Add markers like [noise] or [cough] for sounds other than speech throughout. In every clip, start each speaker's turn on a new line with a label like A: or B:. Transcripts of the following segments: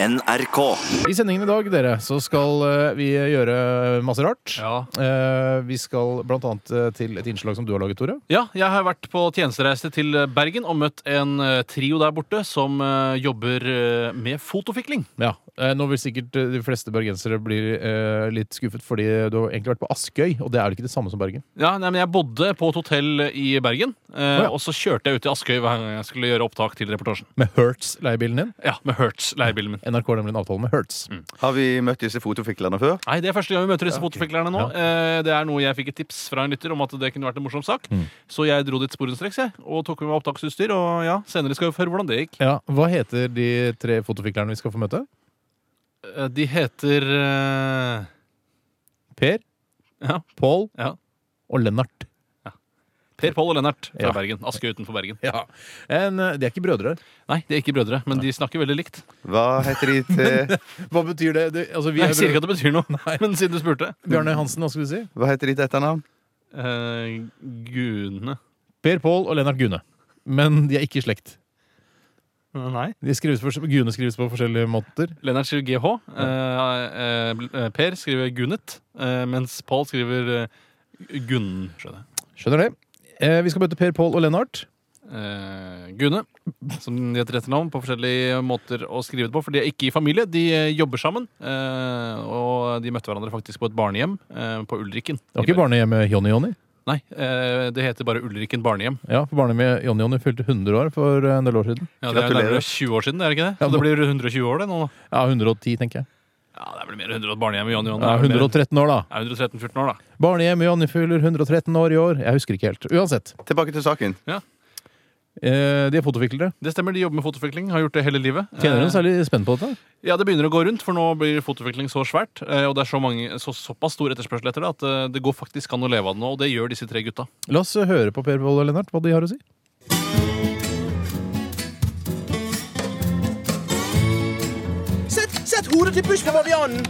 A: NRK.
B: I sendingen i dag dere, så skal eh, vi gjøre masse rart.
C: Ja.
B: Eh, vi skal blant annet eh, til et innslag som du har laget, Tore.
C: Ja, jeg har vært på tjenestereise til Bergen og møtt en eh, trio der borte som eh, jobber eh, med fotofikling.
B: Ja, eh, Nå vil sikkert eh, de fleste bergensere bli eh, litt skuffet, fordi du har egentlig vært på Askøy, og det er jo ikke det samme som Bergen.
C: Ja, nei, men Jeg bodde på et hotell i Bergen,
B: Å,
C: eh,
B: ja.
C: og så kjørte jeg ut til Askøy hver gang jeg skulle gjøre opptak til reportasjen.
B: Med Hertz, leiebilen din. Mm.
C: Ja, Med Hertz, leiebilen min.
B: NRK har nemlig en avtale med Hertz.
A: Har vi møtt disse fotofiklerne før?
C: Nei, Det er første gang vi møter disse fotofiklerne nå. Eh, Det er noe Jeg fikk et tips fra en lytter om at det kunne vært en morsom sak. Så jeg dro dit sporenstreks jeg, og tok med meg opptaksutstyr. Og ja, senere skal vi høre hvordan det gikk.
B: Ja, Hva heter de tre fotofiklerne vi skal få møte?
C: Eh, De heter eh,
B: Per,
C: Ja.
B: Pål
C: ja.
B: og Lennart.
C: Per Pål og Lennart
B: Ja.
C: fra Bergen. Askøy utenfor Bergen.
B: Ja, en, eh, De er ikke brødre.
C: Nei, de er ikke brødre, men de snakker veldig likt.
A: Hva heter de til,
B: Hva betyr det? det altså, vi er
C: Jeg
B: brødre.
C: sier ikke at det betyr noe, men siden du spurte.
B: Bjarne Hansen, hva skal du si?
A: hva heter de til etternavn?
C: Eh, Gune
B: Per Pål og Lennart Gune. Men de er ikke i slekt.
C: Nei.
B: De skrives for, Gune skrives på forskjellige måter.
C: Lennart skriver GH. eh, eh, bl- eh, per skriver Gunnet, eh, mens Pål skriver eh, Gunnen, skjønner jeg.
B: Skjønner det. Eh, vi skal møte Per Pål og Lennart.
C: Eh, Gune, som de heter etter navn, på forskjellige måter å skrive det på. For de er ikke i familie, de eh, jobber sammen. eh, og de møtte hverandre faktisk på et barnehjem eh, på Ulriken.
B: Det var ikke barnehjemmet Jonny-Jonny.
C: Nei, eh, det heter bare Ulriken barnehjem.
B: Ja, for barnehjemmet Jonny-Jonny fylte 100 år for eh, en del år siden.
C: Ja, det er
A: Gratulerer.
C: nærmere 20 år siden, er det ikke det?
B: Ja,
C: Så det
B: nå-
C: blir 120 år det nå. da.
B: Ja, 110, tenker jeg.
C: Ja, det er vel mer 100 barnehjem i Johnny Johnny.
B: Ja, 113 år, da.
C: 113-14 år, da.
B: Barnehjemmet Jonny fyller 113 år i år. Jeg husker ikke helt. Uansett.
A: Tilbake til saken.
B: Eh, de er fotofiklere.
C: Det stemmer, de jobber med fotofikling. Har gjort det hele livet.
B: Tjener
C: Eh,
B: hun særlig spenn på dette?
C: Ja, det begynner å gå rundt, for nå blir fotofikling så svært. eh, Og det er så mange, så, såpass stor etterspørsel etter det at eh, det går faktisk an å leve av det nå. Og det gjør disse tre gutta.
B: La oss eh, høre på Per Pål og Lennart hva de har å si.
D: Sett, sett hodet til buskabavianen!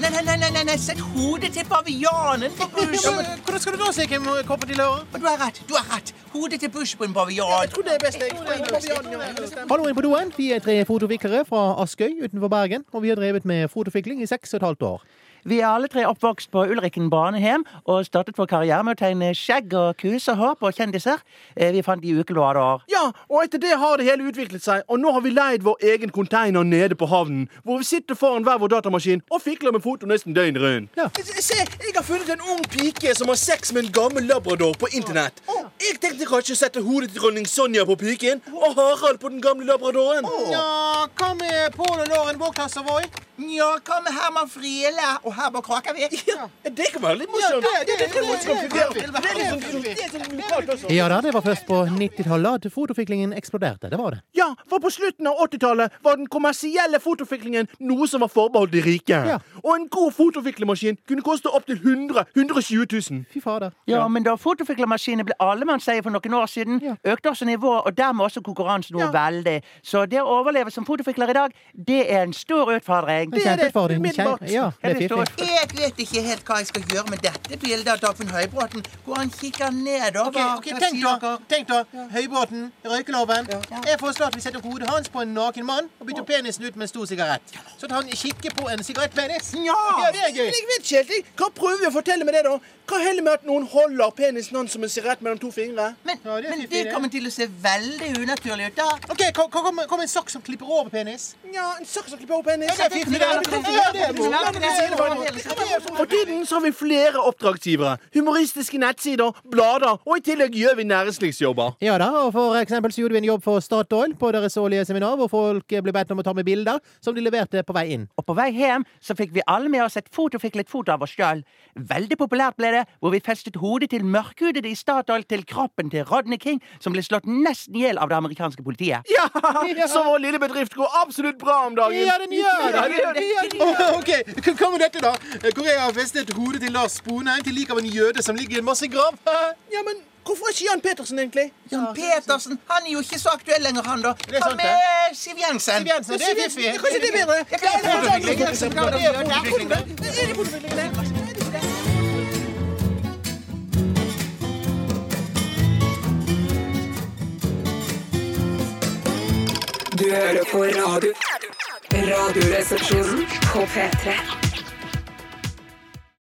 D: Nei, nei, nei, nei, nei, nei, sett hodet til bavianen [laughs] på busk!
E: Hvordan skal du da se hvem eh, koppen til hører?
D: Du har rett, du har rett. Hodet til busk på en bavian.
E: tror det er best, jeg. Hallo inn på doen. Vi er tre fotofiklere fra Askøy utenfor Bergen. Og vi har drevet med fotofikling i seks og et halvt år.
D: Vi er alle tre oppvokst på Ulriken barnehjem og startet vår karriere med å tegne skjegg og kusehår på kjendiser. Eh, Vi fant de i ukelåder.
E: Ja, og etter det har det hele utviklet seg, og nå har vi leid vår egen container nede på havnen, hvor vi sitter foran hver vår datamaskin og fikler med foto nesten døgnet rundt.
F: Se, jeg har funnet en ung pike som har sex med en gammel labrador på internett. Jeg tenkte kanskje å sette hodet til dronning Sonja på piken og Harald på den gamle labradoren.
E: Ja, hva med Pål og Låren Vågtasser Voi?
D: Ja, hva med Herman Friele og Herman Krakavik?
F: Det kan være litt morsomt. Det er litt morsomt. Det er- det er litt sånn- det er sånn lokalt også.
G: Ja da, det var først på 90-tallet at fotofiklingen eksploderte. Det var det.
E: Ja, for på slutten av 80-tallet var den kommersielle fotofiklingen noe som var forbeholdt de rike.
G: Ja.
E: Og en god fotofiklemaskin kunne koste opptil 100 120 000.
G: Fy fader.
D: Ja, men da fotofiklermaskinen ble allemannseie for noen år siden, økte også nivået, og dermed også konkurransen noe veldig. Så det å overleve som fotofikler i dag, det er en stor utfordring.
E: er det.
G: Kjempeutfordring.
E: Umiddelbart.
G: Kjempe- Ja, det er
E: Helt
G: fiffig.
D: Jeg vet ikke helt hva jeg skal gjøre med dette bildet av Dagfinn Høybråten, hvor han kikker nedover. Hva sier dere?
G: tenk da. Høybråten, røykeloven. Jeg foreslår at vi setter hodet hans på en naken mann og bytter penisen ut med en stor sigarett. Sånn at han kikker på en sigarettpenis. Ja, det er
F: Men Jeg vet ikke helt. jeg. Hva prøver vi å fortelle med det, da? Hva heller med at noen holder penisen hans som en sirett mellom to fingre?
D: Men,
G: Ja, det er
D: men
G: fint,
D: det
G: det.
D: kommer til å se veldig unaturlig ut, da.
G: OK, kom, kom, kom en sokk som klipper over penis.
F: Ja, en sak som klipper over penis.
G: det er fint, det er det. Det er det, Mo.
E: For tiden så har vi flere oppdragsgivere. Humoristiske nettsider, blader, og i tillegg gjør vi næringslivsjobber.
G: Ja da, og for eksempel så gjorde vi en jobb for Statoil på deres årlige seminar, hvor folk eh, ble bedt om å ta med bilder som de leverte på vei inn.
D: Og på vei hjem så fikk vi alle med oss et foto, fikk litt foto av oss sjøl. Veldig populært ble det, hvor vi festet hodet til mørkhudede i Statoil til kroppen til Rodney King, som ble slått nesten i hjel av det amerikanske politiet.
E: Ja, Så vår lille bedrift går absolutt bra om dagen.
G: Ja, den gjør det!
E: det gjør det.
F: OK, hva Eh, med dette, da? Eh, Korea har festet hodet til Lars Sponheim til lik av en jøde som ligger i en masse grav. ja, men hvorfor er ikke Jan Petersen, egentlig?
D: Jan Petersen, han er jo ikke så aktuell lenger, han, da.
F: er
D: Hva
F: sant,
D: med Siv Jensen?
G: Siv Jensen, det er fiffig.
F: Det er Kanskje det er bedre?
D: Jeg pleier å
F: Det er fotoutvikling. Det er fotoutvikling.
D: fortelle noen som kan Er det fotoutvikling, det? Er det ikke det?
H: Du hører på radio. Radioresepsjonen på P3.